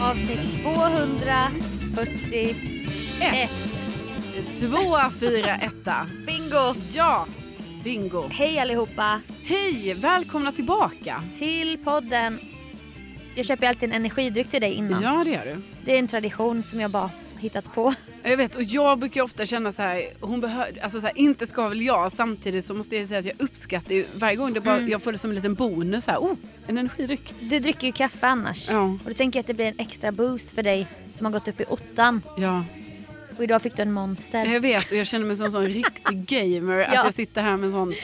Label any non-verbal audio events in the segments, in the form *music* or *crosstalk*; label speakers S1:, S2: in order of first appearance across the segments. S1: avsnitt 241.
S2: Ett. Tvåa, fyra, etta.
S1: Bingo!
S2: Ja, bingo.
S1: Hej allihopa
S2: Hej, välkomna tillbaka.
S1: till podden. Jag köper ju alltid en energidryck till dig innan.
S2: Ja, det gör du.
S1: Det är en tradition som jag bara hittat på.
S2: Jag vet, och jag brukar ofta känna så här, hon behör, alltså så här, inte ska väl jag, samtidigt så måste jag säga att jag uppskattar ju varje gång det bara, jag får det som en liten bonus här, oh, en energidryck.
S1: Du dricker ju kaffe annars.
S2: Ja.
S1: Och då tänker jag att det blir en extra boost för dig som har gått upp i åttan.
S2: Ja,
S1: Och idag fick du en monster.
S2: jag vet och jag känner mig som en sån riktig gamer,
S1: *laughs* Ja.
S2: att jag sitter här med en sån,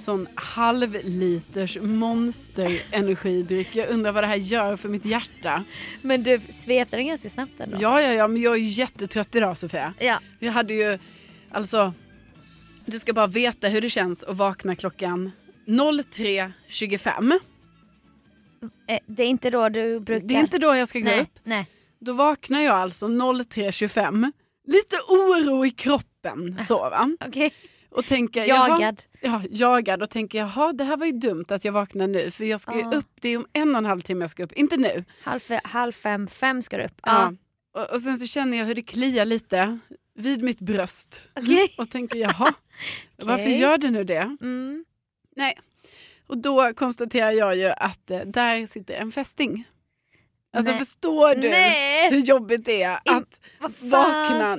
S2: sån halvliters monster-energidryck. Jag undrar vad det här gör för mitt hjärta.
S1: Men du svepte den ganska snabbt ändå.
S2: Ja, ja, ja, men jag är ju jättetrött idag Sofia.
S1: Ja.
S2: Jag hade ju, alltså, du ska bara veta hur det känns att vakna klockan 03.25.
S1: Eh, Det är inte då du brukar...
S2: Det är inte då jag ska gå
S1: Nej.
S2: upp.
S1: Nej.
S2: Då vaknar jag alltså 03.25. Lite oro i
S1: Ah.
S2: kroppen så va.
S1: Okej.
S2: Och tänker, jaha,
S1: Jagad.
S2: Ja, jagad och tänker jaha det här var ju dumt att jag vaknar nu för jag ska ju
S1: Ja.
S2: upp, det är om en och en halv timme jag ska upp, inte nu.
S1: Halv, fe- halv fem, fem ska du upp.
S2: Ja. Och, och sen så känner jag hur det kliar lite vid mitt bröst
S1: Okej.
S2: och tänker jaha, varför
S1: *laughs* Okej.
S2: gör det nu det?
S1: Mm.
S2: Nej. Och då konstaterar jag ju att eh, där sitter en fästing. Alltså
S1: Nej.
S2: förstår du
S1: Nej!
S2: hur jobbigt det är
S1: In-
S2: att
S1: Vad fan?
S2: vakna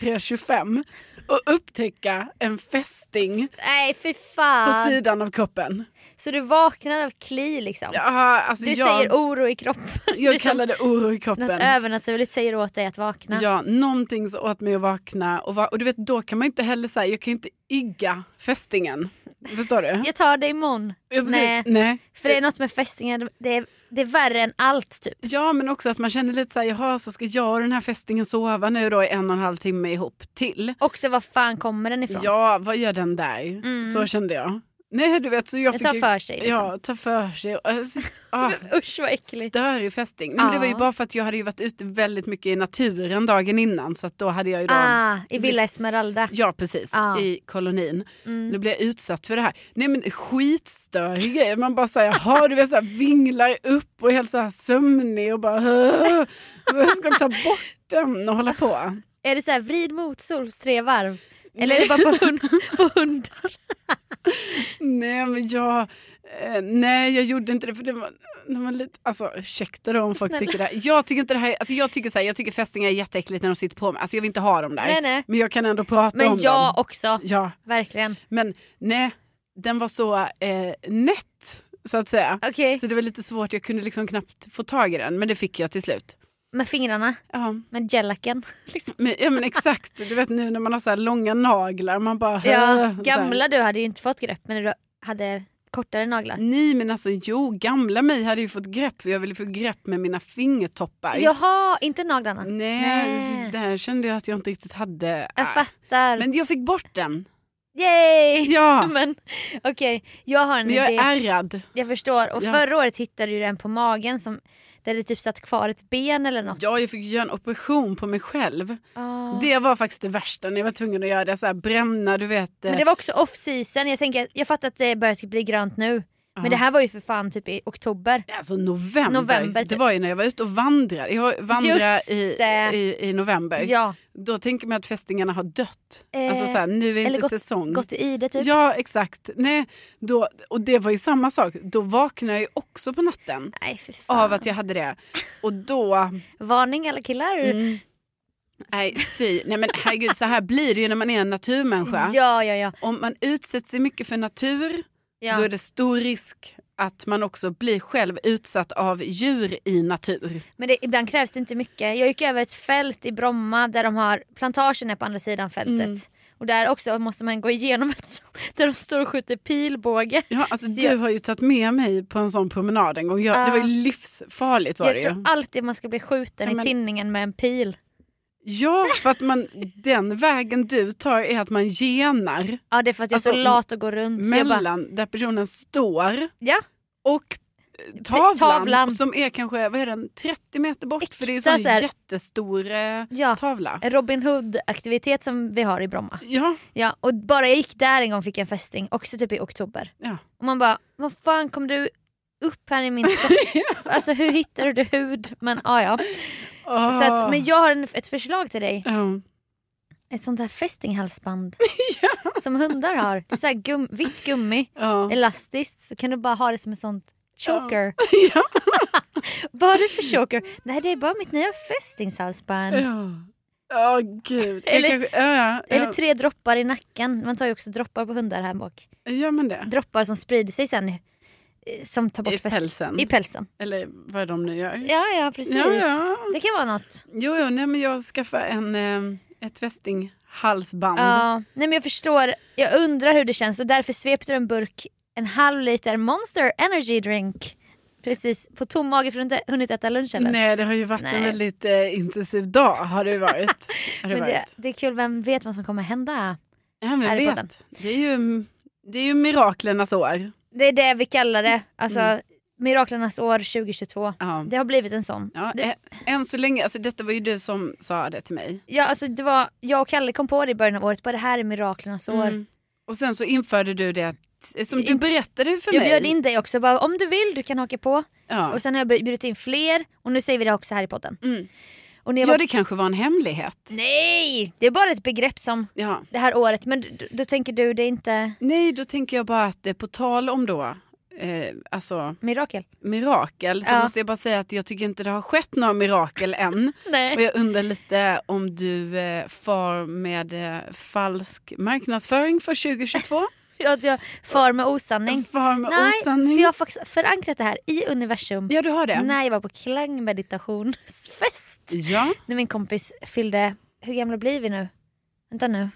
S2: 03.25 och upptäcka en fästing
S1: Nej fy
S2: på
S1: fan.
S2: sidan av kroppen?
S1: Så du vaknar av kli liksom?
S2: Jaha, alltså
S1: Du
S2: jag,
S1: säger oro i kroppen.
S2: *laughs* jag
S1: liksom-
S2: kallar det oro i
S1: Något
S2: kroppen.
S1: övernaturligt säger åt dig att vakna.
S2: Ja, någonting så åt mig att vakna och, va- och du vet då kan man ju inte heller säga, jag kan ju inte igga fästingen. Förstår du?
S1: Jag tar dig imorgon.
S2: Ja, precis.
S1: Nej.
S2: Nej.
S1: För det är något med fästingar, det är, det är värre än allt typ.
S2: Ja, men också att man känner lite så här, jaha, så ska jag och den här fästingen sova nu då i en och en halv timme ihop till?
S1: Också var fan kommer den ifrån?
S2: Ja, vad gör den där? Så kände jag. Nej, du vet, så jag
S1: Den
S2: fick
S1: Mm. tar
S2: ju-
S1: för sig, liksom.
S2: Ja, tar för sig. Och,
S1: *laughs*
S2: Alltså, ah,
S1: Usch vad äckligt.
S2: störig fästing. Nej, men det var ju
S1: Ja.
S2: bara för att jag hade ju varit ute väldigt mycket i naturen dagen innan så att då hade jag ju då...
S1: Ah, I Villa Esmeralda.
S2: Ja, precis.
S1: Ja.
S2: I kolonin.
S1: Mm.
S2: Nu blir jag utsatt för det här. Nej, men skitstörig grej. Man bara säger, jaha, du vet så här vinglar upp och är helt så här sömnig och bara, "Åh, jag ska ta bort den och hålla på.
S1: Är det så här vrid motsols tre varv? Eller är det
S2: *laughs*
S1: bara på, hund, på hundar?
S2: Nej, men jag... Eh, nej, jag gjorde inte det. För det var, det var lite, alltså, ursäkta då om folk
S1: Snälla.
S2: tycker det här. Jag tycker inte det här... Alltså, jag, tycker så här, jag tycker fästingar är jätteäckligt när de sitter på mig. Alltså, jag vill inte ha dem där.
S1: Nej nej.
S2: Men jag kan ändå prata
S1: Men
S2: om
S1: jag
S2: dem.
S1: också.
S2: Ja,
S1: Verkligen.
S2: men nej. Den var så eh, nätt, så att säga.
S1: Okej.
S2: Så det var lite svårt. Jag kunde liksom knappt få tag i den, men det fick jag till slut.
S1: Med fingrarna.
S2: Ja,
S1: Med gellacken. Liksom.
S2: men, ja, men exakt. Du vet nu när man har så här långa naglar. Man bara... "Åh",
S1: Ja,
S2: så här.
S1: gamla du hade ju inte fått grepp men du hade kortare naglar.
S2: Nej men alltså jo, gamla mig hade ju fått grepp för jag ville få grepp med mina fingertoppar.
S1: Jaha, inte naglarna.
S2: Nej,
S1: Nej.
S2: där kände jag att jag inte riktigt hade.
S1: Jag
S2: Ah.
S1: fattar.
S2: Men jag fick bort
S1: *laughs*
S2: den.
S1: Yay!
S2: Ja,
S1: *laughs* Men okej, jag har en
S2: men jag
S1: idé.
S2: är ärrad.
S1: Jag förstår. Och
S2: Ja.
S1: förra året hittade du den på magen som, där det typ satt kvar ett ben eller något.
S2: Ja, jag fick göra en operation på mig själv.
S1: Ah.
S2: Det var faktiskt det värsta när jag var tvungen att göra det. Så här, bränna, du vet. eh,
S1: Men det var också off season. Jag, tänker, jag fattar att det börjar typ bli grönt nu.
S2: Ja.
S1: Men det här var ju för fan typ i oktober.
S2: Alltså november.
S1: November,
S2: Det
S1: typ.
S2: var ju när jag var ute och vandrade. Jag vandrade
S1: Just
S2: i,
S1: det.
S2: i, i november.
S1: Ja,
S2: Då tänker man att fästingarna har dött.
S1: Eh,
S2: alltså så här, nu är
S1: eller
S2: inte säsong.
S1: gått i ide typ.
S2: Mm. Ja, exakt. Nej, då, och det var ju samma sak. Då vaknade jag ju också på natten
S1: Nej för fan.
S2: av att jag hade det. Och då...
S1: *laughs* Varning alla killar.
S2: Mm, nej, fy. Nej, men herregud, så här blir det ju när man är en naturmänniska.
S1: Ja, ja, ja.
S2: Om man utsätter sig mycket för natur,
S1: ja.
S2: då är det stor risk att man också blir själv utsatt av djur i natur.
S1: Men det, ibland krävs det inte mycket. Jag gick över ett fält i Bromma där de har plantagen är på andra sidan fältet.
S2: Mm.
S1: Och där också måste man gå igenom ett sånt *laughs* där de står och skjuter pilbåge.
S2: Ja, alltså,
S1: Så
S2: du
S1: jag-
S2: har ju tagit med mig på en sån promenad en gång. Jag, Det var ju livsfarligt. Var
S1: jag
S2: det ju.
S1: tror alltid man ska bli skjuten
S2: Ja, men-
S1: i tinningen med en pil.
S2: Ja, för att man, den vägen du tar är att man genar
S1: Ja det är för att jag är
S2: Alltså,
S1: så lat och går runt. Så jag bara,
S2: mellan där personen står
S1: ja
S2: och eh, tavlan,
S1: tavlan.
S2: som är kanske vad är den, 30 meter bort. för det är ju
S1: Äkta
S2: sån
S1: så här-
S2: jättestor eh,
S1: Ja.
S2: tavla.
S1: en Robin Hood-aktivitet som vi har i Bromma.
S2: Ja,
S1: Ja, och bara jag gick där en gång fick jag en fästing, också typ i oktober.
S2: ja.
S1: Och man bara, vad
S2: *laughs*
S1: fan kom du upp här i min sock? alltså hur hittar du hud? Men ah, ja.
S2: Ah.
S1: Så att, men jag har en, ett förslag till dig.
S2: Ja.
S1: Ett sånt
S2: *laughs*
S1: här fästinghalsband. Som hundar har. Det är så här gum, vitt gummi,
S2: Ja.
S1: elastiskt. Så kan du bara ha det som en sånt choker.
S2: *laughs* Ja.
S1: *laughs* Vad har du för choker? Nej det är bara mitt nya fästingshalsband.
S2: Ja. Åh gud. Jag
S1: Eller-
S2: kanske, ja, ja,
S1: Eller tre droppar i nacken. Man tar ju också droppar på hundar här bak.
S2: ja. Gör man det?
S1: Droppar som sprider sig sen. eh, Som tar bort
S2: I
S1: fäst-
S2: pälsen?
S1: I pälsen.
S2: Eller vad de nu gör?
S1: Ja, ja precis.
S2: Ja, ja.
S1: Det kan vara något.
S2: Jo, jo nej, men jag skaffade en, eh, ett västinghalsband.
S1: Ja. Nej, men jag förstår. Jag undrar hur det känns och därför svepte du en burk en halv liter Monster Energy Drink. Precis, på tom mage för du inte hunnit äta lunch eller?
S2: Nej, det har ju varit
S1: Nej.
S2: en väldigt eh, intensiv dag. Har det ju
S1: *laughs*
S2: varit. Har det
S1: men det,
S2: varit.
S1: det är kul, vem vet vad som kommer hända?
S2: Ja, men
S1: Här i podden.
S2: vet. Det är ju, det är ju miraklernas år.
S1: Det är det vi kallar det, alltså
S2: Mm.
S1: miraklernas år 2022.
S2: Ja.
S1: Det har blivit en sån.
S2: Ja,
S1: Det-
S2: ä- Än så länge, alltså detta var ju du som sa det till mig.
S1: Ja, alltså det var, jag och Kalle kom på det i början av året, bara det här är miraklernas år.
S2: Mm. Och sen så införde du det, t- som du
S1: Inte-
S2: berättade för
S1: Jag
S2: mig.
S1: bjöd in dig också, bara, om du vill du kan haka på.
S2: ja.
S1: Och sen har jag bjudit in fler och nu säger vi det också här i podden.
S2: Mm.
S1: Och när jag var
S2: ja, det kanske var en hemlighet.
S1: Nej! Det är bara ett begrepp som
S2: Ja.
S1: det här året. Men d- d- då tänker du det är inte
S2: Nej, då tänker jag bara att eh, på tal om då, eh, alltså
S1: mirakel?
S2: mirakel, så
S1: Ja.
S2: måste jag bara säga att jag tycker inte det har skett några mirakel än. Och
S1: *laughs* Nej.
S2: jag undrar lite om du eh, far med eh, falsk marknadsföring för 2022?
S1: Att jag far med osanning.
S2: Far med
S1: Nej,
S2: osanning?
S1: För jag har faktiskt förankrat det här i universum.
S2: Ja, du har det?
S1: När jag var på klangmeditationsfest.
S2: Ja.
S1: När min kompis fyllde, hur gamla blir vi nu? Vänta nu.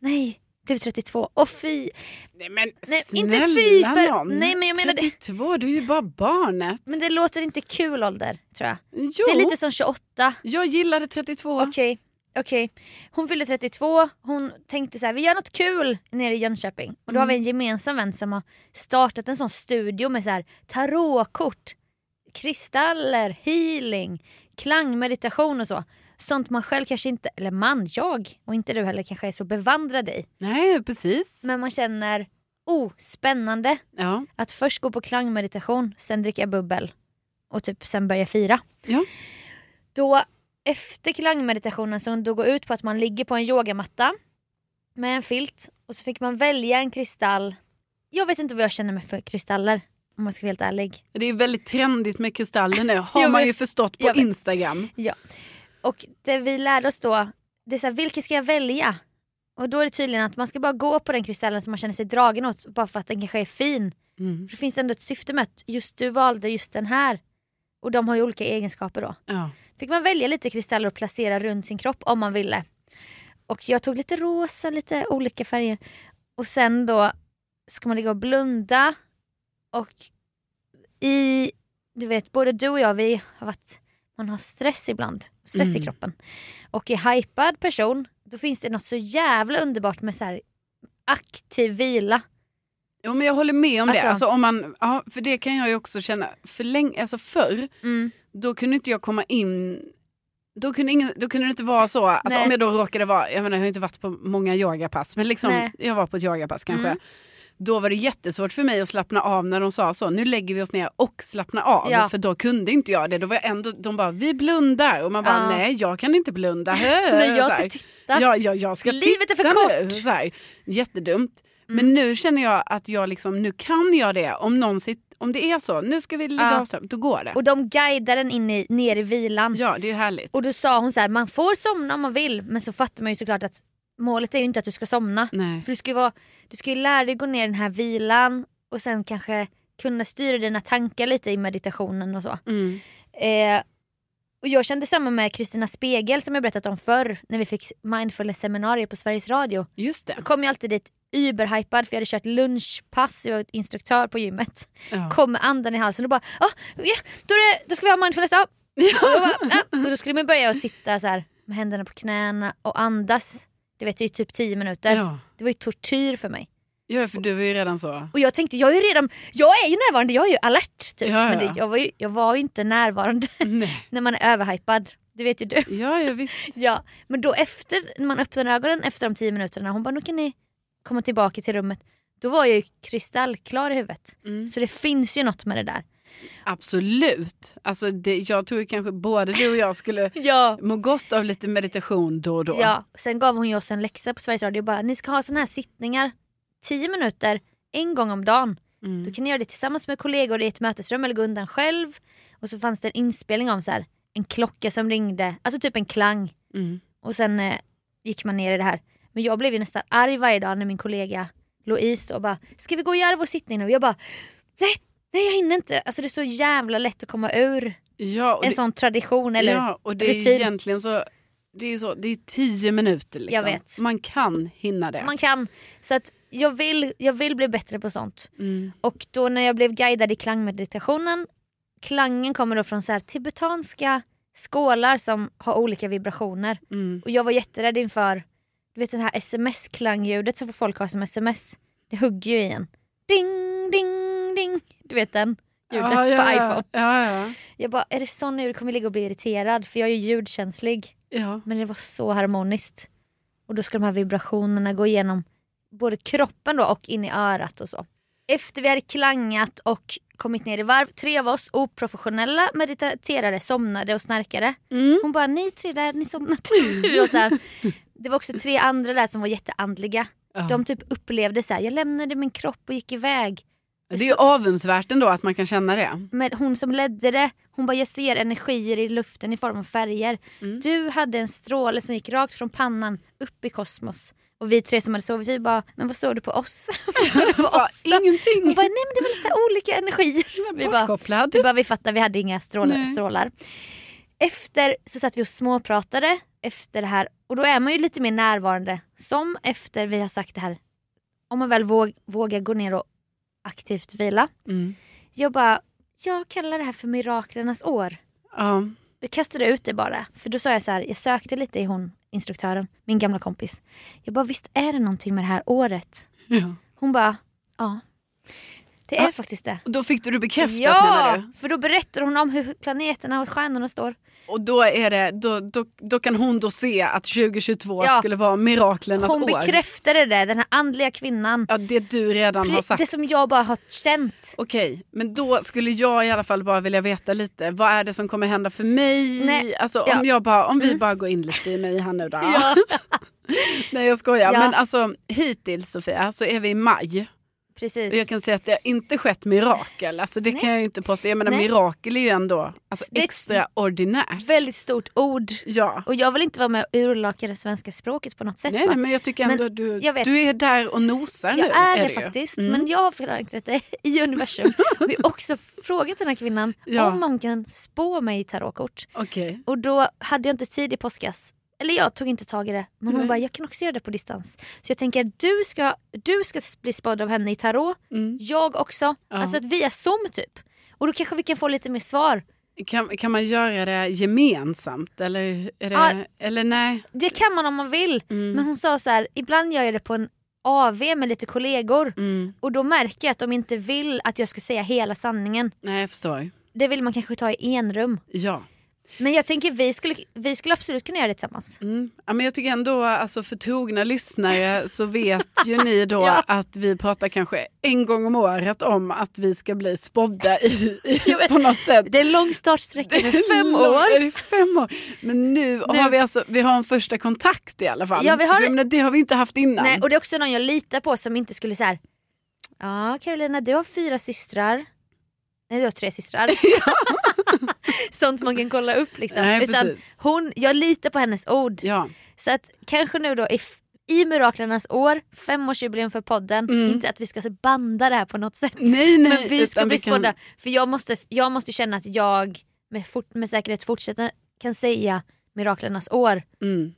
S1: Nej, blev 32. Och fy!
S2: Nej, men
S1: Nej,
S2: snälla
S1: inte fy för-
S2: någon.
S1: Nej, men jag menar det-
S2: 32, du är ju bara barnet.
S1: Men det låter inte kul ålder tror jag.
S2: Jo,
S1: Det är lite som 28.
S2: jag gillade 32.
S1: Okej, okej. Hon fyllde 32, hon tänkte så här, vi gör något kul nere i Jönköping. Och då har vi en gemensam vän som har startat en sån studio med så här tarotkort, kristaller, healing, klangmeditation och så. Sånt man själv kanske inte, eller man, jag och inte du heller kanske är så bevandrad i.
S2: Nej, precis.
S1: Men man känner, oh spännande
S2: Ja.
S1: att först gå på klangmeditation, sen dricka bubbel och typ sen börja fira.
S2: Ja.
S1: Då efter klangmeditationen som då går ut på att man ligger på en yogamatta med en filt och så fick man välja en kristall. Jag vet inte vad jag känner mig för kristaller om jag ska vara helt ärlig.
S2: Det är ju väldigt trendigt med kristaller
S1: *laughs*
S2: nu, har
S1: Jag
S2: man
S1: vet.
S2: ju förstått på
S1: Jag vet.
S2: Instagram.
S1: Och det vi lärde oss då, det är så här, vilken ska jag välja? Och då är det tydligen att man ska bara gå på den kristallen som man känner sig dragen åt bara för att den kanske är fin.
S2: Mm.
S1: För det finns ändå ett syfte med att just du valde just den här. Och de har ju olika egenskaper då.
S2: Ja.
S1: fick man välja lite kristaller att placera runt sin kropp om man ville. Och jag tog lite rosa, lite olika färger. Och sen då ska man ligga och blunda. Och i, du vet både du och jag vi har varit, man har stress ibland. Stress i
S2: Mm.
S1: kroppen. Och i hypad person då finns det något så jävla underbart med så här aktiv vila.
S2: Jo, men jag håller med om
S1: Alltså-
S2: det. Alltså, om man, ja, för det kan jag ju också känna. För länge, alltså förr, då kunde inte jag komma in... Då kunde, ingen, då kunde det inte vara så. Alltså,
S1: Nej.
S2: om jag då råkade vara... Jag, menar, jag har ju inte varit på många yogapass, men liksom,
S1: Nej.
S2: jag var på ett yogapass kanske.
S1: Mm.
S2: Då var det jättesvårt för mig att slappna av när de sa så. Nu lägger vi oss ner och slappnar av.
S1: Ja.
S2: För då kunde inte jag det. Då var jag ändå, de bara, vi blundar. Och man bara,
S1: Ja.
S2: nej jag kan inte blunda. Hö,
S1: *laughs* Nej, jag
S2: så
S1: ska
S2: här.
S1: titta.
S2: Ja, ja, jag ska
S1: Livet är
S2: titta
S1: för
S2: Nu,
S1: kort. Mm.
S2: så här. Jättedumt. Men nu känner jag att jag liksom, nu kan jag det. Om, någon sit, om det är så, nu ska vi lägga
S1: Ja.
S2: av, så här, då går det.
S1: Och de guidar den in i, ner i vilan.
S2: Ja, det är ju härligt.
S1: Och då sa hon så här, man får somna om man vill men så fattar man ju såklart att målet är ju inte att du ska somna.
S2: Nej.
S1: För du ska ju, vara, du ska ju lära dig gå ner i den här vilan och sen kanske kunna styra dina tankar lite i meditationen och så.
S2: Mm.
S1: Eh, och jag kände samma med Kristina Spegel som jag berättat om förr när vi fick mindfulness-seminarier på Sveriges Radio.
S2: Just det.
S1: Då kom jag alltid dit überhypad för jag hade kört lunchpass, jag var instruktör på gymmet.
S2: *laughs* Ja.
S1: Kom med andan i halsen och bara ah, ja, då, är det, då ska vi ha mindfulness. Ah, och, jag bara, "Ah." och då skulle man börja att sitta så här med händerna på knäna och andas. Det vet jag i typ 10 minuter.
S2: Ja.
S1: Det var ju tortyr för mig.
S2: ja, för du var ju redan så.
S1: Och jag tänkte, jag är ju redan, jag är ju närvarande, jag är ju alert. Typ.
S2: Ja, ja.
S1: Men det, jag, var ju, jag var ju inte närvarande *laughs*
S2: Nej.
S1: när man är överhypad. Det vet ju du.
S2: Ja, ja, visst.
S1: Ja. Men då efter, när man öppnar ögonen efter de 10 minuterna, hon bara, nu kan ni komma tillbaka till rummet. Då var jag ju kristallklar i huvudet.
S2: Mm.
S1: Så det finns ju något med det där.
S2: Absolut. Alltså det, jag tror kanske både du och jag skulle
S1: Ja.
S2: må gott av lite meditation då och då.
S1: ja. Sen gav hon ju oss en läxa på Sveriges Radio och bara ni ska ha såna här sittningar 10 minuter en gång om dagen.
S2: Mm.
S1: Då kan ni göra det tillsammans med kollegor i ett mötesrum eller gå undan själv. Och så fanns det en inspelning om så här, en klocka som ringde, alltså typ en klang.
S2: Mm.
S1: Och sen eh, gick man ner i det här. Men jag blev ju nästan arg varje dag när min kollega Louise då bara “ska vi gå och göra vår sittning nu?” och jag bara “nej, nej jag hinner inte”. Alltså det är så jävla lätt att komma ur
S2: Ja, och
S1: en
S2: det,
S1: sån tradition eller
S2: ja, och det är ju
S1: rutin.
S2: egentligen så, det är ju så, det är tio minuter liksom.
S1: Jag vet.
S2: Man kan hinna det.
S1: man kan. Så att jag vill, jag vill bli bättre på sånt.
S2: Mm.
S1: Och då när jag blev guidad i klangmeditationen, klangen kommer då från så här tibetanska skålar som har olika vibrationer.
S2: Mm.
S1: Och jag var jätterädd inför du vet det här sms-klangljudet som folk har som sms. Det hugger ju i en. Ding, ding, ding. Du vet den ljudet
S2: Ah, Ja, ja,
S1: på
S2: ja.
S1: iPhone.
S2: Ja, ja.
S1: Jag bara, är det sån ljud kommer jag ligga och bli irriterad för jag är ju ljudkänslig.
S2: ja.
S1: Men det var så harmoniskt. Och då ska de här vibrationerna gå igenom både kroppen då och in i örat och så. Efter vi hade klangat och kommit ner i varv, tre av oss oprofessionella mediterare somnade och snarkade.
S2: Mm.
S1: Hon bara, ni tre där, ni somnade. *laughs* och så här. Det var också tre andra där som var jätteandliga.
S2: Ja.
S1: De typ upplevde så här, jag lämnade min kropp och gick iväg.
S2: Det är ju avundsvärt ändå att man kan känna det.
S1: Men hon som ledde det, hon bara, jag ser energier i luften i form av färger.
S2: Mm.
S1: Du hade en stråle som gick rakt från pannan upp i kosmos. Och vi tre som hade sovit, vi bara, men vad såg du på oss? *laughs* vad såg du
S2: *laughs*
S1: på
S2: Bara,
S1: oss då? Hon
S2: ingenting.
S1: bara, nej men det var lite så här olika energier. *laughs* Vi bara,
S2: Bortkopplad.
S1: Det bara vi fattar, vi hade inga strålar.
S2: Nej.
S1: strålar. Efter så satt vi och småpratade efter det här och då är man ju lite mer närvarande. Som efter vi har sagt det här, om man väl våg, vågar gå ner och aktivt vila.
S2: Mm.
S1: Jag bara, jag kallar det här för miraklernas år.
S2: Ja.
S1: Jag kastade ut det bara. För då sa jag så här, jag sökte lite i hon, instruktören, min gamla kompis. Jag bara, visst är det någonting med det här året?
S2: Ja.
S1: Hon bara, ja. Det är faktiskt det.
S2: Och Då fick du det bekräftat menar
S1: Ja,
S2: du?
S1: för då berättar hon om hur planeterna och stjärnorna står.
S2: Och då, är det, då, då, då kan hon då se att 2022
S1: Ja.
S2: skulle vara miraklernas
S1: Hon
S2: år.
S1: bekräftade det, den här andliga kvinnan.
S2: Ja, det du redan har
S1: Pre-
S2: sagt.
S1: det som jag bara har känt.
S2: Okej, men då skulle jag i alla fall bara vilja veta lite. Vad är det som kommer hända för mig?
S1: Nej,
S2: Alltså, om,
S1: ja. Mm.
S2: jag bara, om vi bara går in lite i mig här nu då.
S1: *laughs* Ja.
S2: Nej jag skojar.
S1: Ja.
S2: Men alltså hittills Sofia så är vi i maj.
S1: Precis.
S2: Och jag kan säga att det har inte skett mirakel. Alltså det
S1: Nej.
S2: kan jag ju inte påstå. Jag menar
S1: Nej.
S2: mirakel är ju ändå alltså,
S1: Det är ett-
S2: extraordinärt.
S1: Väldigt stort ord.
S2: Ja.
S1: Och jag vill inte vara med och urlaka det svenska språket på något sätt.
S2: Nej,
S1: va?
S2: nej men jag tycker
S1: Men
S2: ändå att du,
S1: jag vet.
S2: du är där och nosar nu.
S1: jag är, det
S2: ju.
S1: faktiskt,
S2: Mm.
S1: men jag har förankrat det *laughs*
S2: *laughs*
S1: i universum. Och jag har också frågat den här kvinnan
S2: Ja.
S1: om hon kan spå mig i tarotkort.
S2: Okej.
S1: Och då hade jag inte tid i påskas. Eller jag tog inte tag i det. Men hon
S2: Nej.
S1: bara, jag kan också göra det på distans. Så jag tänker, du ska, du ska bli spådd av henne i tarot.
S2: Mm.
S1: Jag också.
S2: Ja.
S1: Alltså att via Zoom typ. Och då kanske vi kan få lite mer svar.
S2: Kan, kan man göra det gemensamt eller, är det,
S1: Ja.
S2: eller nej?
S1: Det kan man om man vill.
S2: Mm.
S1: Men hon sa så här, ibland gör jag det på en AV med lite kollegor.
S2: Mm.
S1: Och då märker jag att de inte vill att jag ska säga hela sanningen.
S2: Nej jag förstår.
S1: Det vill man kanske ta i enrum.
S2: Ja.
S1: Men jag tänker vi skulle, vi skulle absolut kunna göra det tillsammans.
S2: Mm. ja men jag tycker ändå alltså för trogna lyssnare så vet ju ni då
S1: *laughs* Ja.
S2: att vi pratar kanske en gång om året om att vi ska bli spådda i,
S1: *laughs* Jag
S2: i,
S1: vet.
S2: på något sätt.
S1: Det är en lång startsträcka med fem
S2: Lång-
S1: år.
S2: Är det fem år? Men nu, har vi alltså, vi har en första kontakt i alla fall.
S1: Ja, vi har-
S2: För jag menar, det har vi inte haft innan.
S1: Nej, och det är också någon jag litar på som inte skulle säga Ja Carolina du har fyra systrar. Nej du har tre *laughs* systrar. Sånt man kan kolla upp liksom.
S2: Nej,
S1: Utan
S2: precis.
S1: hon, jag litar på hennes ord.
S2: Ja.
S1: Så att kanske nu då i, f- i miraklernas år, femårsjubileum för podden, inte att vi ska så banda det här på något sätt.
S2: Nej, nej.
S1: Men vi ska
S2: utan
S1: bli
S2: kan-
S1: spådda. För jag måste, jag måste känna att jag med, fort, med säkerhet fortsätter kan säga miraklernas år.
S2: Mm.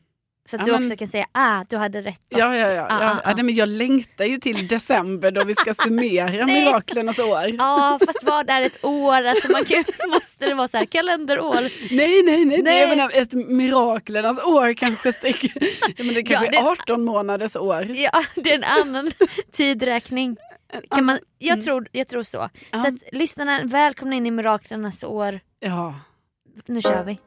S1: Så att
S2: Ja,
S1: du
S2: men-
S1: också kan säga ah, du hade rätt. då."
S2: Ja, ja, ja. ja,
S1: Ah, ah,
S2: ja
S1: ah.
S2: nej, men jag längtar ju till december då vi
S1: *laughs*
S2: ska summera miraklernas år.
S1: *laughs* Ja fast vad är ett år? Alltså man kan, *laughs* måste det vara så
S2: *laughs*
S1: här kalenderår?
S2: Nej, nej, nej. nej.
S1: Nej.
S2: Jag menar, ett miraklernas år kanske
S1: *laughs*
S2: sträcker... ja, men det kanske
S1: det-
S2: är 18 månaders år.
S1: Ja det är en annan *laughs* tidräkning. Kan man, jag,
S2: mm.
S1: tror, jag tror så. Så att lyssnarna, välkomna in i miraklernas år.
S2: Ja.
S1: Nu kör vi.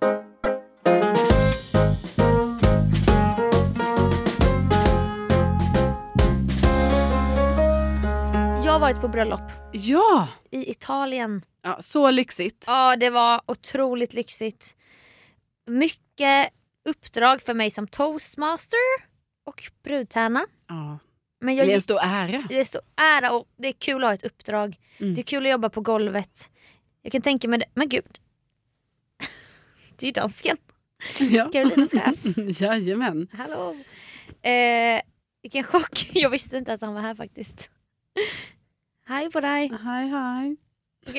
S1: Jag har varit på bröllop
S2: Ja!
S1: i Italien.
S2: ja så lyxigt.
S1: Ja, det var otroligt lyxigt. Mycket uppdrag för mig som toastmaster och brudtärna.
S2: Ja.
S1: Men
S2: Det
S1: jag
S2: är en
S1: gick,
S2: stor ära.
S1: det är stor ära och det är kul att ha ett uppdrag.
S2: Mm.
S1: Det är kul att jobba på golvet. Jag kan tänka mig det. Men gud. *laughs* Det är ju dansken.
S2: Ja.
S1: Karolinas chef.
S2: *laughs* Jajamän.
S1: Hallå. Eh, vilken chock. *laughs* Jag visste inte att han var här faktiskt. Hej på dig.
S2: Hej hej.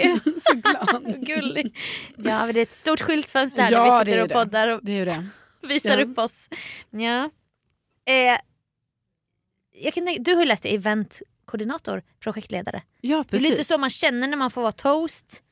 S1: Gud,
S2: Så glad.
S1: *laughs* gullig. Ja, men det är ett stort skyltfönster här
S2: Ja,
S1: där vi
S2: det
S1: sitter
S2: är
S1: och
S2: det.
S1: poddar och
S2: Det är ju det.
S1: visar
S2: Ja.
S1: upp oss. Ja. Eh, jag kan, tänka- du har ju läst det, eventkoordinator, projektledare.
S2: Ja
S1: Det är
S2: precis.
S1: lite så man känner när man får vara toast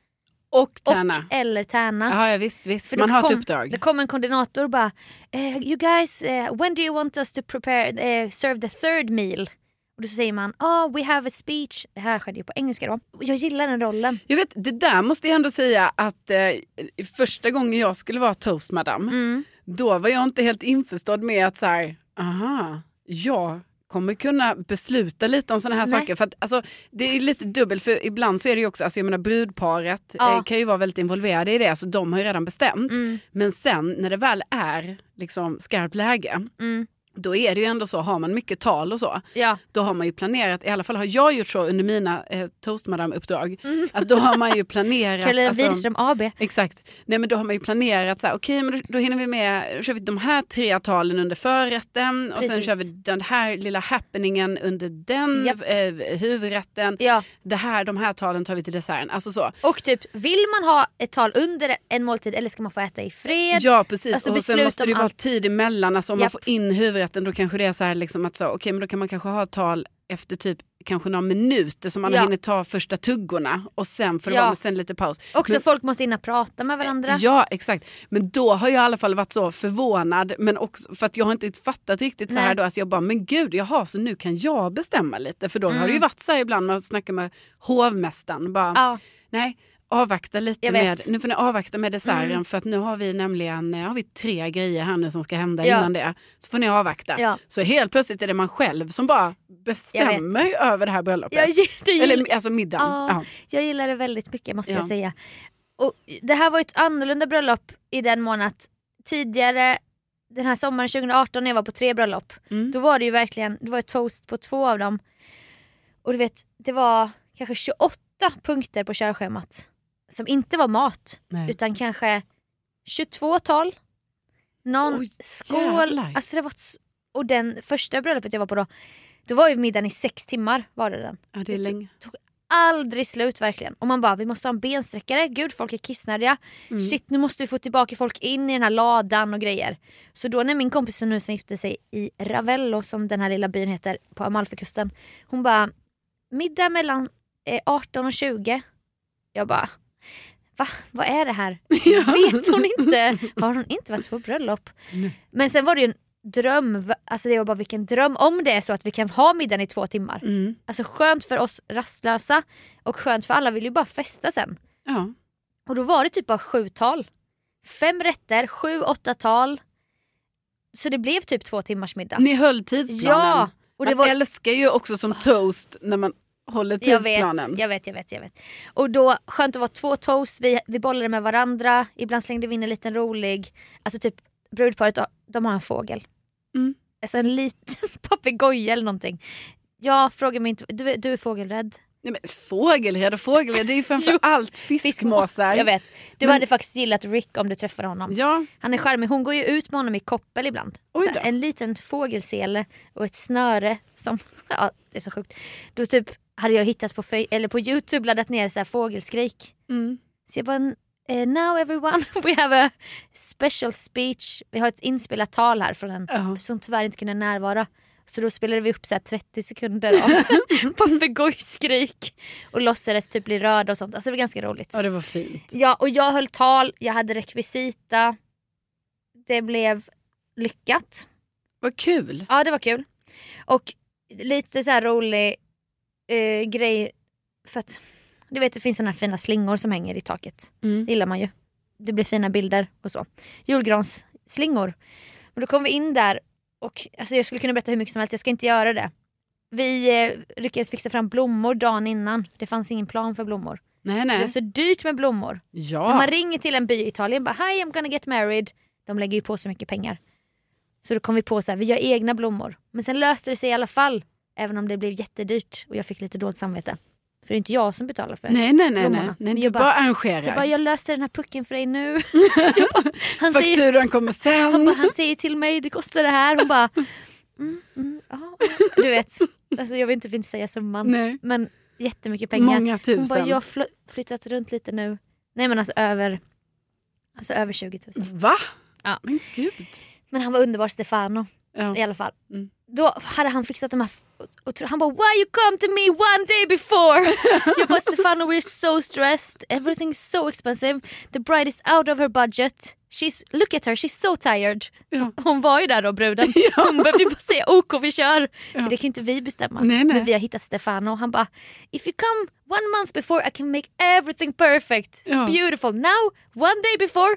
S2: Och
S1: och
S2: tärna.
S1: eller tärna.
S2: Ja, ja visst, visst.
S1: För
S2: Man
S1: då
S2: har typ ett
S1: kom-
S2: uppdrag.
S1: Det kom en koordinator och bara eh, “You guys, eh, when do you want us to prepare, eh, serve the third meal?” Och då säger man “Oh, we have a speech”. Det här skedde ju på engelska då. Och Jag gillar den rollen.
S2: Jag vet, det där måste jag ändå säga att eh, första gången jag skulle vara toastmadam,
S1: Mm.
S2: då var jag inte helt införstådd med att så här, aha, jag kommer kunna besluta lite om sådana här
S1: Nej.
S2: saker. För att, alltså, det är lite dubbelt, för ibland så är det ju också, alltså, jag menar brudparet
S1: Ja.
S2: eh, kan ju vara väldigt involverade i det, så de har ju redan bestämt.
S1: Mm,
S2: Men sen när det väl är liksom, skarpt läge,
S1: mm.
S2: då är det ju ändå så, har man mycket tal och så,
S1: Ja.
S2: då har man ju planerat, i alla fall har jag gjort så under mina eh, toastmadam-uppdrag,
S1: Mm.
S2: att då har man ju
S1: *laughs*
S2: planerat.
S1: Karolina
S2: alltså-
S1: Widerström AB.
S2: Exakt. Nej men då har man ju planerat så här, okej men då, då hinner vi med, då kör vi de här tre talen under förrätten och sen
S1: Precis.
S2: kör vi den här lilla happeningen under den
S1: Japp.
S2: eh, huvudrätten.
S1: Ja.
S2: Det här, de här talen tar vi till desserten. Alltså så.
S1: Och typ, vill man ha ett tal under en måltid eller ska man få äta i fred?
S2: Ja precis
S1: alltså,
S2: och sen
S1: beslut
S2: måste det ju
S1: om
S2: vara
S1: allt.
S2: tid emellan. Alltså om man
S1: Japp.
S2: får in huvudrätten då kanske det är så här liksom att så, okej men då kan man kanske ha ett tal efter typ kanske några minuter så man
S1: Ja.
S2: hinner ta första tuggorna och sen får det
S1: Ja.
S2: vara med sen lite paus.
S1: Också
S2: Men-
S1: folk måste hinna prata med varandra.
S2: Ja, exakt. Men då har jag i alla fall varit så förvånad, men också, för att jag har inte fattat riktigt så
S1: Nej.
S2: här då, att jag bara, men gud, jaha, så nu kan jag bestämma lite. För då har det ju
S1: Mm.
S2: varit så här ibland, man snackar med hovmästaren, bara,
S1: Ja.
S2: nej, avvakta lite
S1: Jag vet.
S2: med, nu får ni avvakta med desserten,
S1: Mm.
S2: för att nu har vi nämligen, eh, har vi tre grejer här nu som ska hända
S1: Ja.
S2: innan det, så får ni avvakta.
S1: Ja.
S2: Så helt plötsligt är det man själv som bara bestämmer över det här bröllopet.
S1: Jag, gill- det gill-
S2: Eller alltså middagen.
S1: Ja.
S2: Ja.
S1: jag gillar det väldigt mycket måste
S2: Ja.
S1: jag säga. Och det här var ju ett annorlunda bröllop i den mån att tidigare den här sommaren 2018 när jag var på tre bröllop
S2: Mm.
S1: då var det ju verkligen det var ett toast på två av dem. Och du vet det var kanske 28 punkter på körschemat som inte var mat.
S2: Nej.
S1: utan kanske 22 tal. Någon
S2: Oj,
S1: skål.
S2: jävlar.
S1: Alltså det var ett s- och den första bröllopet jag var på då, då var ju middagen i sex timmar var det den.
S2: Ja, det är länge.
S1: Aldrig slut verkligen. Och man bara vi måste ha en bensträckare, gud folk är kissnödiga.
S2: Mm.
S1: Shit nu måste vi få tillbaka folk in i den här ladan och grejer. Så då när min kompis som nu som gifte sig i Ravello som den här lilla byn heter på Amalfikusten. Hon bara middag mellan eh, 18 och 20. Jag bara va? Vad är det här?
S2: *laughs* Ja.
S1: *laughs* Vet hon inte? Har hon inte varit på bröllop?
S2: Nej.
S1: Men sen var det ju en dröm, v- alltså det var bara vilken dröm om det är så att vi kan ha middagen i två timmar.
S2: Mm.
S1: Alltså skönt för oss rastlösa och skönt för alla vill ju bara festa sen.
S2: Ja.
S1: Och då var det typ bara sju tal. Fem rätter, sju, åtta tal. Så det blev typ två timmars middag.
S2: Ni höll tidsplanen.
S1: Ja! Och det
S2: man
S1: var, Ah.
S2: älskar ju också som toast när man håller
S1: jag vet,
S2: tidsplanen.
S1: jag vet, jag vet, jag vet. Och då, skönt att vara två toast, vi, vi bollade med varandra, ibland slängde vi in en liten rolig, alltså typ brudparet de har en fågel.
S2: Mm.
S1: Alltså en liten *laughs* papegoja eller någonting. Jag frågar mig inte, du, du är fågelrädd?
S2: Nej, men fågelred och fågelred, det är ju
S1: *laughs*
S2: framför allt fiskmåsar.
S1: Jag vet. Du
S2: Men-
S1: hade faktiskt gillat Rick om du träffade honom.
S2: Ja,
S1: Han är charmig, hon går ju ut med honom i koppel ibland.
S2: Oj
S1: Så
S2: då.
S1: en liten fågelsele och ett snöre som, *laughs* ja det är så sjukt. Då typ hade jag hittat på, fej- eller på youtube laddat ner så här fågelskrik.
S2: mm.
S1: Så jag bara, eh, now everyone *laughs* we have a special speech. Vi har ett inspelat tal här från en
S2: ja.
S1: som tyvärr inte kunde närvara. Så då spelade vi upp så här 30 sekunder av *laughs* papegojskrik och låtsades typ bli rörda och sånt. Alltså det var ganska roligt.
S2: ja det var fint.
S1: Ja, och jag höll tal, jag hade rekvisita. Det blev lyckat.
S2: Vad kul.
S1: Ja, det var kul. Och lite så här rolig eh, grej för att du vet det finns såna här fina slingor som hänger i taket.
S2: Mm.
S1: Det gillar man ju. Det blir fina bilder och så. Julgransslingor. Men då kom vi in där och alltså jag skulle kunna berätta hur mycket som helst, jag ska inte göra det. Vi eh, lyckades fixa fram blommor dagen innan. Det fanns ingen plan för blommor.
S2: Nej,
S1: Det var
S2: nej.
S1: så dyrt med blommor. När
S2: Ja.
S1: man ringer till en by i Italien bara “Hi I'm gonna get married”. De lägger ju på så mycket pengar. Så då kom vi på så här, vi gör egna blommor. Men sen löste det sig i alla fall. Även om det blev jättedyrt och jag fick lite dåligt samvete. För det är inte jag som betalar för
S2: Nej, nej, nej. nej.
S1: blommorna.
S2: nej
S1: Vi
S2: du
S1: bara-
S2: bara
S1: Så jag bara,
S2: arrangerar.
S1: jag löste den här pucken för
S2: *laughs*
S1: dig nu. Så jag bara, han, säger,
S2: Fakturan kommer
S1: han, *laughs* bara,
S2: sen.
S1: han säger till mig, det kostar det här. Hon bara, mm, mm, ja. du vet. Alltså, jag vill inte inte säga summan.
S2: *laughs* Nej.
S1: Men jättemycket pengar.
S2: Många
S1: Hon bara,
S2: tusen.
S1: jag har fl- flyttat runt lite nu. Nej men alltså över, alltså över 20 000.
S2: Va?
S1: Ja.
S2: Men gud.
S1: Men han var underbar Stefano
S2: Ja.
S1: i alla fall.
S2: Mm.
S1: Då hade han fixat de här... Och, och, tro- han bara “Why you come to me one day
S2: *laughs*
S1: before?” Jag bara “Stefano we're so stressed, everything's so expensive, the bride is out of her budget, she's, look at her, she's so tired”.
S2: Ja.
S1: Hon var ju där
S2: *laughs*
S1: då bruden. Hon behövde ju bara säga “OK vi kör”. För det kan ju inte vi bestämma.
S2: Nej, nej.
S1: Men vi har hittat Stefano och han bara “If you come one month before I can make everything perfect,
S2: Ja.
S1: it's beautiful, now one day before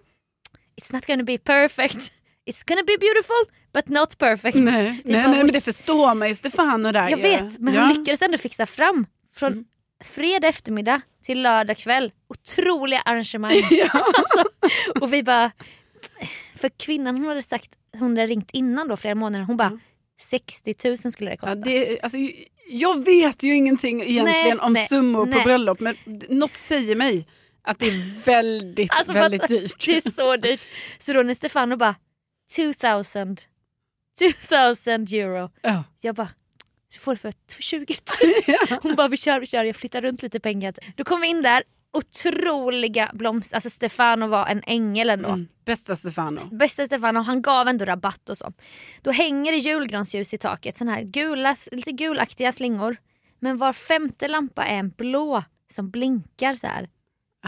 S1: it's not gonna be perfect. *laughs* It's gonna be beautiful but not perfect.
S2: Nej,
S1: Vi
S2: nej,
S1: bara,
S2: nej,
S1: hon
S2: men det förstår man ju Stefano där
S1: Jag
S2: ju.
S1: vet, men
S2: ja. Mm.
S1: hon lyckades ändå fixa fram från fredag eftermiddag till lördag kväll. Otroliga arrangemang.
S2: *laughs* Ja.
S1: *laughs* alltså, och vi bara... För kvinnan hon hade sagt, hon hade ringt innan då flera månader, hon bara 60 000 skulle det kosta.
S2: Mm. Ja, det, alltså, jag vet ju ingenting egentligen om
S1: nej,
S2: summor på
S1: nej.
S2: bröllop men något säger mig att det är väldigt,
S1: Alltså,
S2: väldigt
S1: fattar-
S2: dyrt.
S1: Det är så dyrt. Så då när Stefano bara 2000, 2000 euro.
S2: Ja.
S1: Jag bara, du får det för
S2: *laughs*
S1: 20 000. Hon bara, vi kör, vi kör. Jag flyttar runt lite pengar. Då kom vi in där, otroliga blomster. Alltså Stefano var en ängel ändå.
S2: Mm. Bästa Stefano.
S1: Bästa Stefano, han gav ändå rabatt och så. Då hänger det julgransljus i taket, sån här gula, lite gulaktiga slingor. Men var femte lampa är en blå som blinkar så här.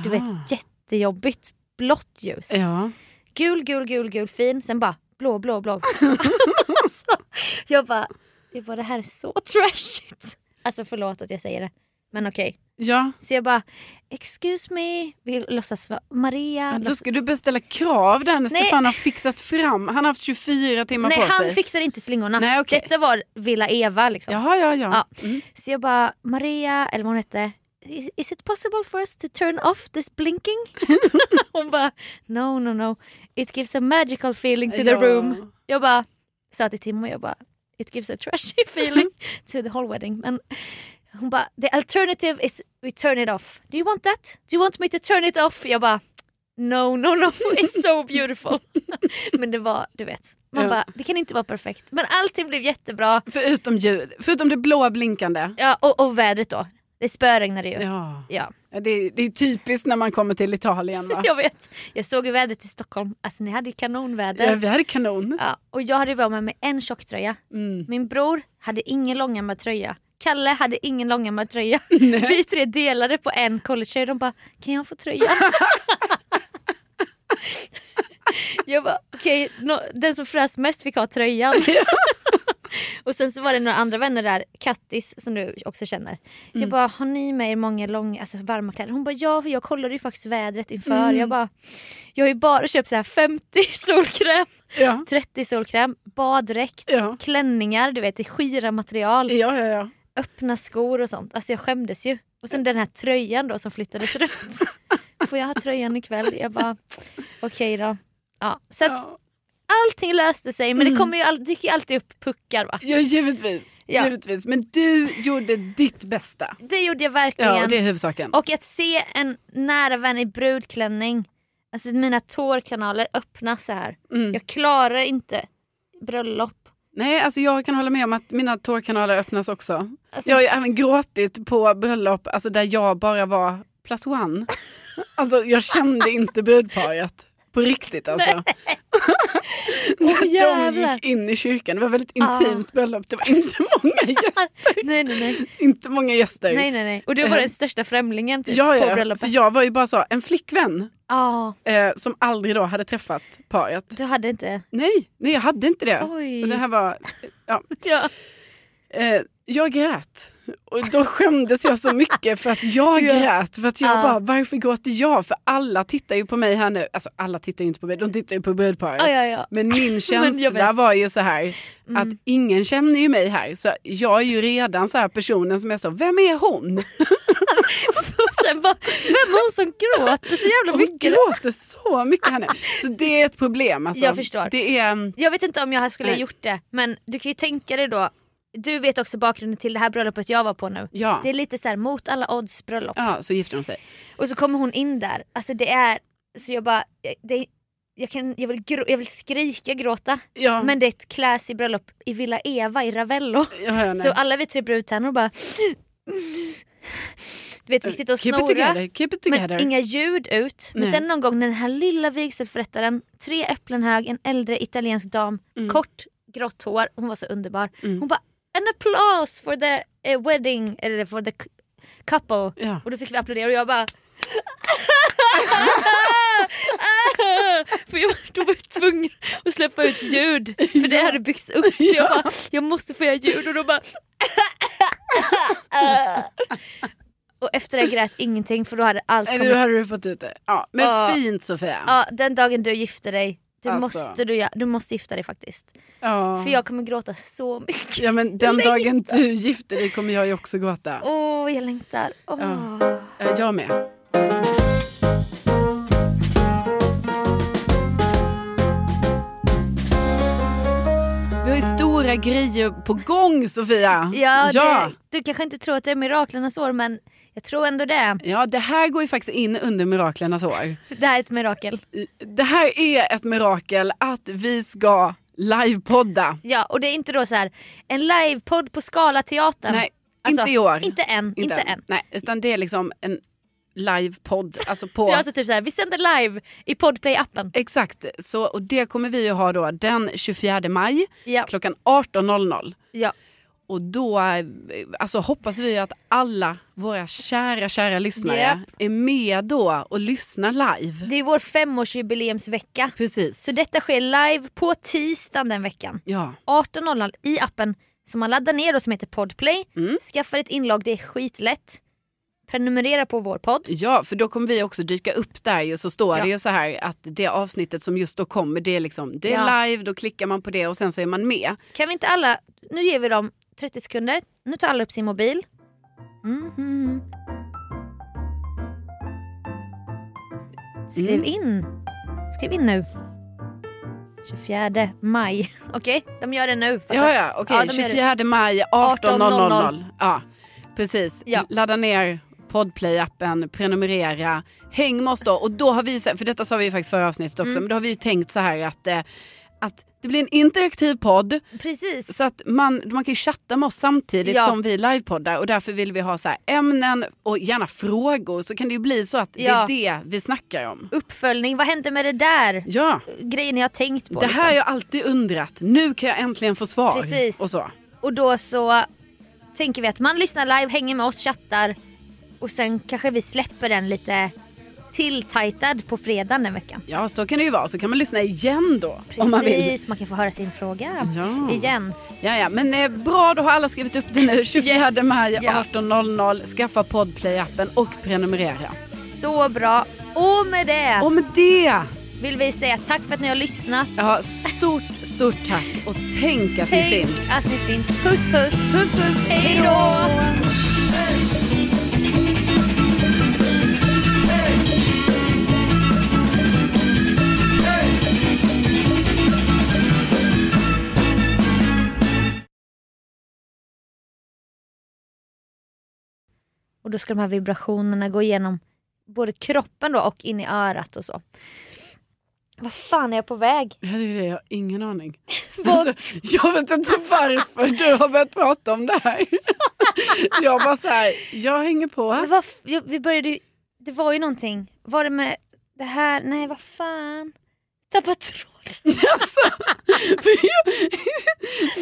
S1: Du
S2: Ah.
S1: vet, jättejobbigt blått ljus.
S2: Ja.
S1: Gul, gul, gul, gul, fin. Sen bara blå,
S2: *laughs*
S1: blå, blå. alltså, jag, bara, jag bara, det här är så trashigt. Alltså förlåt att jag säger det. Men okej.
S2: Ja.
S1: Så jag bara, excuse me. Vi låtsas vara Maria.
S2: Ja, Då
S1: låtsas-
S2: ska du beställa krav där när
S1: Nej.
S2: Stefano har fixat fram. Han har haft 24 timmar
S1: Nej
S2: på sig.
S1: han fixade inte slingorna.
S2: Nej, okej.
S1: Detta var Villa Eva liksom.
S2: Jaha, ja, ja. Mm.
S1: Så jag bara, Maria, eller vad hon hette, is, is it possible for us to turn off
S2: *laughs*
S1: this blinking? hon bara, no no no, it gives a magical feeling to the
S2: Ja.
S1: room. Jag bara, sa till Tim och jag bara, it gives a trashy *laughs* feeling to the whole wedding. Men hon bara, the alternative is we turn it off. Do you want that? Do you want me to turn it off? Jag bara, no no *laughs* no, it's so beautiful. *laughs* Men det var, du vet, man
S2: Ja.
S1: bara, det kan inte vara perfekt. Men allting blev jättebra.
S2: Förutom, ljud, förutom det blåa blinkande.
S1: Ja, och, och vädret då. Det spöregnade ju. Ja.
S2: Ja. Ja, Det, det är typiskt när man kommer till Italien va?
S1: jag vet. Jag såg ju vädret i Stockholm. Alltså ni hade ju kanonväder.
S2: Ja, vi hade kanon.
S1: Ja, och jag hade varit med mig en tjocktröja.
S2: Mm.
S1: Min bror hade ingen långärmad tröja. Kalle hade ingen långärmad tröja. Vi tre delade på en collegetröja. De bara, kan jag få tröjan? jag bara, okej, nå- den som frös mest fick ha tröjan. *laughs* och sen så var det några andra vänner där, Kattis som du också känner. Så jag bara, har ni med er många lång, alltså varma kläder? Hon bara, ja för jag kollade ju faktiskt vädret inför. Jag bara, jag har ju bara köpt så här 50 *laughs* solkräm.
S2: Ja.
S1: 30 solkräm, baddräkt,
S2: Ja.
S1: klänningar, du vet i skira material,
S2: Ja, ja, ja.
S1: öppna skor och sånt. Alltså jag skämdes ju. Och sen den här tröjan då som
S2: *laughs*
S1: flyttades runt. Får jag ha tröjan ikväll? Jag bara okej då. Ja, så att
S2: Ja. Mm.
S1: allting löste sig men det kommer ju all- dyker ju alltid upp puckar va.
S2: Ja, givetvis.
S1: Ja.
S2: givetvis. Men du gjorde ditt bästa.
S1: Det gjorde jag
S2: Ja,
S1: verkligen.
S2: det är huvudsaken.
S1: Och att se en nära vän i brudklänning, alltså mina tårkanaler öppnas så här.
S2: Mm.
S1: Jag klarar inte bröllop.
S2: Nej, alltså jag kan hålla med om att mina tårkanaler öppnas också.
S1: Alltså, *laughs*
S2: Jag har ju även gråtit på bröllop alltså där jag bara var plus
S1: *laughs*
S2: one. Alltså jag kände inte brudparet. På riktigt alltså.
S1: Åh,
S2: De
S1: jävlar.
S2: gick in i kyrkan. Det var väldigt
S1: Ah.
S2: intimt bröllop. Det var inte *laughs* många gäster.
S1: nej nej nej.
S2: Inte många gäster.
S1: Nej, nej, nej. Och du var den största främlingen typ,
S2: Eh, ja,
S1: på
S2: ja,
S1: bröllopet.
S2: för jag var ju bara så, en flickvän
S1: Ja,
S2: eh, som aldrig då hade träffat paret.
S1: du hade inte...
S2: Nej, nej jag hade inte det.
S1: Oj.
S2: Och det här var, ja.
S1: Ja.
S2: eh, jag grät. Och då skämdes jag så mycket för att jag
S1: *laughs* Ja.
S2: grät. För att jag
S1: Ja.
S2: bara, varför gråter jag? För alla tittar ju på mig här nu. Alltså alla tittar ju inte på mig, de tittar ju på brudparet.
S1: Ah, Ja, ja, ja.
S2: Men
S1: *laughs*
S2: min känsla
S1: vet. Mm.
S2: var ju så här att ingen känner ju mig här. Så jag är ju redan så här personen som är så, vem är
S1: *laughs*
S2: hon?
S1: Och sen bara, vem var hon som gråter så jävla
S2: Hon
S1: mycket?
S2: gråter så mycket
S1: *laughs*
S2: här nu. Så det är ett problem alltså.
S1: Jag förstår.
S2: Det är, mm,
S1: Jag vet inte om jag här skulle ha
S2: Nej.
S1: gjort det men du kan ju tänka dig då, du vet också bakgrunden till det här bröllopet jag var på nu.
S2: ja.
S1: Det är lite så här mot alla odds bröllop.
S2: ja, så gifter de sig.
S1: Och så kommer hon in där, alltså det är, så jag bara, det, jag, kan, jag, vill grå, jag vill skrika gråta.
S2: Ja,
S1: Men det är ett classy bröllop i Villa Eva i Ravello.
S2: jag hör henne.
S1: Så alla vi tre brudtärnor bara... Du vet vi sitter och
S2: Keep it
S1: snorar.
S2: together, keep it
S1: Men
S2: together.
S1: inga ljud ut. Men
S2: Nej.
S1: sen någon gång när den här lilla vigselförrättaren, tre äpplen hög, en äldre italiensk dam,
S2: Mm.
S1: kort grått hår, hon var så underbar.
S2: Mm.
S1: Hon bara “an applause for the eh, wedding” eller “for the c- couple”.
S2: Ja.
S1: Och då fick vi applådera och jag bara "Ah, För jag då var jag tvungen att släppa ut ljud för det hade byggts upp så jag bara, jag måste få göra ljud och då bara "Ah, Och efter det grät ingenting för då hade allt
S2: Eller då
S1: kommit.
S2: hade du fått ut det. Ja, men
S1: Ja.
S2: fint Sofia.
S1: Ja, den dagen du gifter dig, du,
S2: Alltså.
S1: måste, du, gö- du måste gifta dig faktiskt.
S2: Ja.
S1: För jag kommer gråta så mycket.
S2: Ja men den dagen du gifter dig kommer jag ju också gråta.
S1: Åh, jag längtar. Åh.
S2: Ja. Eh, Jag med. Vi har ju stora grejer på gång Sofia.
S1: Ja,
S2: ja.
S1: Det, du kanske inte tror att det är miraklernas år men jag tror ändå det.
S2: ja, det här går ju faktiskt in under miraklernas år.
S1: Det här är ett mirakel.
S2: Det här är ett mirakel att vi ska livepodda.
S1: Ja, och det är inte då så här en livepodd på Skala teatern.
S2: Nej,
S1: Alltså,
S2: inte i år.
S1: Inte än, inte, än.
S2: Nej, utan det är liksom en livepodd. Alltså på...
S1: *laughs* Det är alltså typ så här, vi sänder live i Podplay-appen.
S2: Exakt, så, och det kommer vi ju ha då den 24 maj
S1: Ja,
S2: klockan 18.00.
S1: ja.
S2: Och då eh, alltså, hoppas vi ju att alla våra kära, kära lyssnare
S1: Japp.
S2: är med då och lyssnar live.
S1: Det är vår femårsjubileumsvecka.
S2: Precis.
S1: Så detta sker live på tisdagen den veckan.
S2: Ja,
S1: 18.00 i appen som man laddar ner då som heter Podplay.
S2: Mm.
S1: Skaffar ett inlogg, det är skitlätt. Prenumerera på vår podd.
S2: ja, för då kommer vi också dyka upp där ju. Så står
S1: Ja.
S2: det ju så här att det avsnittet som just då kommer, det är, liksom, det är
S1: Ja.
S2: live, då klickar man på det och sen så är man med.
S1: Kan vi inte alla, nu ger vi dem 30 sekunder, nu tar alla upp sin mobil. Mhm. Skriv
S2: Mm.
S1: in, skriv in nu. 24 maj, *laughs* okej de gör det nu. fattar.
S2: Ja, ja, okej.
S1: Ja, de gör det.
S2: 24 maj 18.00.
S1: 18.00.
S2: Ja, precis.
S1: Ja.
S2: Ladda ner Podplay-appen, prenumerera, häng med oss då. Och då har vi, ju så- för detta sa vi ju faktiskt förra avsnittet också,
S1: Mm.
S2: men då har vi ju tänkt så här att, eh, att det blir en interaktiv podd
S1: Precis,
S2: så att man, man kan ju chatta med oss samtidigt
S1: Ja.
S2: som vi livepoddar och därför vill vi ha så här ämnen och gärna frågor så kan det ju bli så att
S1: Ja.
S2: det är det vi snackar om.
S1: uppföljning, vad hände med det där?
S2: Ja,
S1: Grejen jag har tänkt på.
S2: det här har
S1: liksom.
S2: jag alltid undrat. Nu kan jag äntligen få svar.
S1: Precis.
S2: Och så.
S1: Och då så tänker vi att man lyssnar live, hänger med oss, chattar och sen kanske vi släpper den lite tilltajtad på fredagen den veckan.
S2: Ja, så kan det ju vara. Så kan man lyssna igen då
S1: Precis,
S2: om man
S1: man,
S2: vill.
S1: kan få höra sin fråga
S2: Ja.
S1: igen.
S2: Ja, ja. Men eh, bra, då har alla skrivit upp det
S1: *laughs*
S2: nu. 24 maj
S1: Ja.
S2: 18.00. Skaffa Podplay-appen och prenumerera.
S1: Så bra. Och med det
S2: Och med det,
S1: vill vi säga tack för att ni har lyssnat.
S2: ja, stort, stort tack och tänk att
S1: Tänk
S2: ni finns.
S1: att ni finns. Puss puss.
S2: Puss, puss.
S1: Hej då! Och då ska de här vibrationerna gå igenom både kroppen då och in i örat och så. Vad fan är jag på väg?
S2: Ja, det är det. Jag har ingen aning.
S1: *laughs* Vad-
S2: Alltså, jag vet inte varför du har börjat prata om det
S1: *laughs*
S2: här. Jag bara så här, jag hänger på.
S1: Men vad f- jag- vi började ju, det var ju någonting. Var det med det här? Nej vad fan. Tappat tråden.
S2: Alltså, för jag,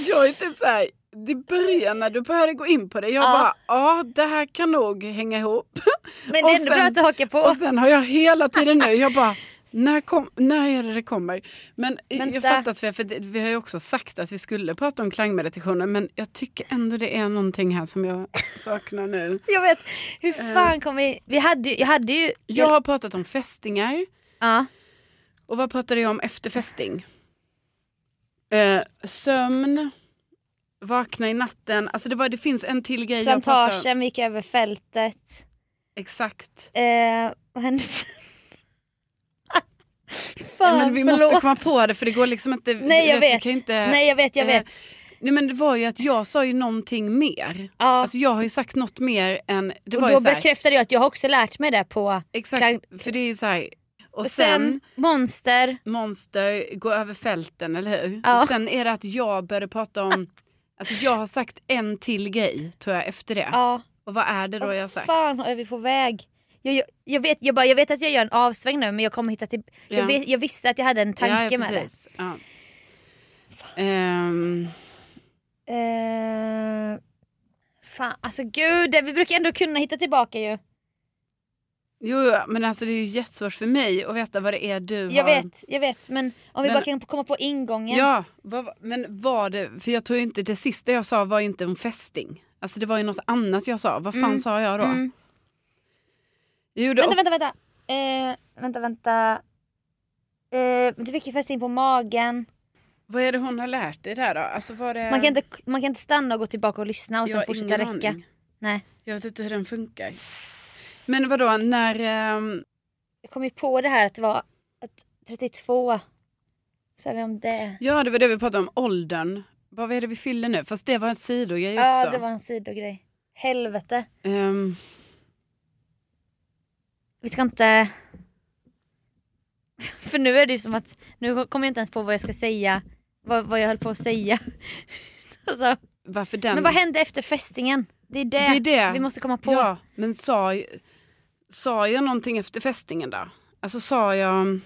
S2: jag är typ så här, det börjar när du började gå in på det. Jag
S1: Ja.
S2: bara, ja det här kan nog hänga ihop.
S1: *laughs* Men det
S2: Och
S1: är ändå
S2: sen-
S1: bra att du hakar på.
S2: Och sen har jag hela tiden nu, jag bara, När, kom, när är det det kommer? Men i-
S1: Vänta.
S2: jag fattar Sofia, för det, vi har ju också sagt att vi skulle prata om klangmeditationer men jag tycker ändå det är någonting här som jag saknar nu.
S1: Jag vet, hur fan kom vi... vi hade, ju- jag hade ju...
S2: Jag har pratat om fästingar
S1: Ja.
S2: och vad pratade jag om efter fästing? Eh, sömn, vakna i natten, alltså det, var, det finns en till grej jag pratar om.
S1: Plantagen, vi gick över fältet.
S2: Exakt.
S1: Eh, vad
S2: *laughs*
S1: hände sen? fan,
S2: men vi
S1: förlåt.
S2: måste komma på det för det går liksom inte.
S1: Nej
S2: du
S1: jag
S2: vi
S1: vet.
S2: Kan inte,
S1: Nej jag vet, jag
S2: eh,
S1: vet.
S2: nej men det var ju att jag sa ju någonting mer.
S1: ja.
S2: Alltså jag har ju sagt något mer än... Det
S1: och
S2: var
S1: då
S2: ju så här,
S1: bekräftade jag att jag har också lärt mig det på...
S2: exakt, för det är ju så här... Och
S1: Och
S2: sen,
S1: sen monster.
S2: monster, gå över fälten, eller hur?
S1: Ja.
S2: Och sen är det att jag började prata om... Alltså jag har sagt en till grej, tror jag, efter det.
S1: Ja.
S2: Och vad är det då
S1: Vad
S2: jag har sagt?
S1: fan är vi på väg? Jag, jag, jag, vet, jag, bara, jag vet att jag gör en avsväng nu men jag kommer hitta till...
S2: Ja.
S1: Jag, vet, jag visste att jag hade en tanke
S2: ja, ja,
S1: med det.
S2: precis. Ja. Ehm,
S1: Eh, fan, alltså gud, vi brukar ändå kunna hitta tillbaka ju.
S2: jo, jo, men alltså det är ju jättesvårt för mig att veta vad det är du
S1: Jag
S2: har...
S1: vet, jag vet. Men om vi
S2: Men-
S1: bara kan komma på ingången.
S2: Ja, vad, var- men var det, för jag tror ju inte, det sista jag sa var ju inte om fästing. Alltså det var ju något annat jag sa. Vad fan
S1: Mm.
S2: sa jag då?
S1: Mm.
S2: Jo, det,
S1: Vänta, vänta, vänta. Eh, vänta, vänta. Eh, du fick ju fästing på magen.
S2: Vad är det hon har lärt dig där då? Alltså var det...
S1: Man kan, inte, man kan inte stanna och gå tillbaka och lyssna och
S2: Jag
S1: sen
S2: har
S1: fortsätta
S2: ingen
S1: räcka.
S2: aning.
S1: Nej.
S2: Jag vet inte hur den funkar. Men vadå, när... ehm,
S1: Jag kom ju på det här att det var att 32. Sa vi om det?
S2: ja, det var det vi pratade om, åldern. Vad är det vi fyller nu? Fast det var en sidogrej
S1: Ja,
S2: också.
S1: det var en sidogrej. Helvete.
S2: Ehm,
S1: Vi ska inte... *laughs* För nu är det ju som att nu kommer jag inte ens på vad jag ska säga. Vad, vad jag höll på att säga. *laughs* alltså,
S2: varför den...
S1: men vad hände efter fästingen? Det är det,
S2: Det är det.
S1: vi måste komma på.
S2: Ja, men sa, sa jag någonting efter fästingen då? Alltså sa jag...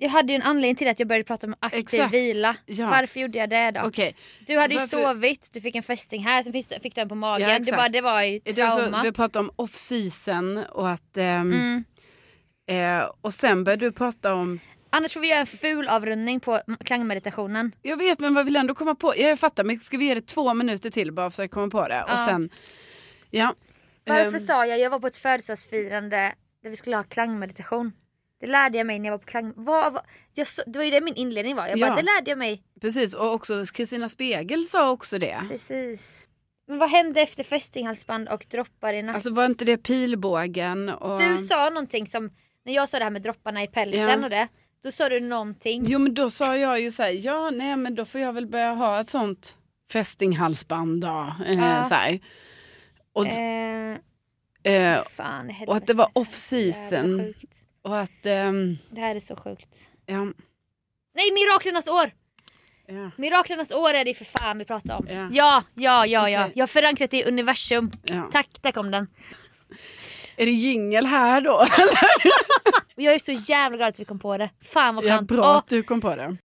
S1: Jag hade ju en anledning till att jag började prata om aktiv
S2: Exakt.
S1: vila.
S2: Ja.
S1: Varför gjorde jag det då?
S2: Okej.
S1: Du hade ju
S2: Varför-
S1: sovit, du fick en fästing här, sen fick du, fick du en på magen.
S2: Ja,
S1: du
S2: exakt.
S1: bara, det var ju
S2: Är det alltså-
S1: trauma.
S2: Vi pratade om off-season och att... ehm,
S1: Mm.
S2: eh, och sen började du prata om...
S1: Annars får vi göra en ful avrundning på m- klangmeditationen.
S2: Jag vet men vad vill jag ändå komma på? Jag fattar men ska vi ge det två minuter till bara för att komma på det?
S1: Ja.
S2: Och sen... Ja.
S1: Varför
S2: Ehm,
S1: sa jag, jag var på ett födelsedagsfirande där vi skulle ha klangmeditation. Det lärde jag mig när jag var på klang... Vad, vad, jag, så- det var ju det min inledning var. Jag bara,
S2: Ja.
S1: det lärde jag mig.
S2: Precis och också Kristina Spegel sa också det.
S1: Precis. Men vad hände efter fästinghalsband och droppar i nacken?
S2: Alltså var inte det pilbågen? Och...
S1: du sa någonting som, när jag sa det här med dropparna i pälsen
S2: Alltså- Ja.
S1: och det. Då sa du någonting.
S2: Jo men då sa jag ju så här, ja nej men då får jag väl börja ha ett sånt fästinghalsband då. Eh,
S1: Ja.
S2: så här. Och,
S1: Eh,
S2: eh,
S1: fan,
S2: och att det var off-season. och att... ehm,
S1: Det här är så sjukt.
S2: ja,
S1: Nej, miraklernas år!
S2: ja,
S1: Miraklernas år är det för fan vi pratar om.
S2: Ja.
S1: Ja, ja, ja, ja.
S2: Okej.
S1: Jag har förankrat det i universum.
S2: ja.
S1: Tack, där kom den.
S2: Är det jingel här då?
S1: Och jag är så jävla glad att vi kom på det. Fan vad
S2: Ja,
S1: skönt.
S2: *laughs* bra
S1: Åh,
S2: att du kom på det.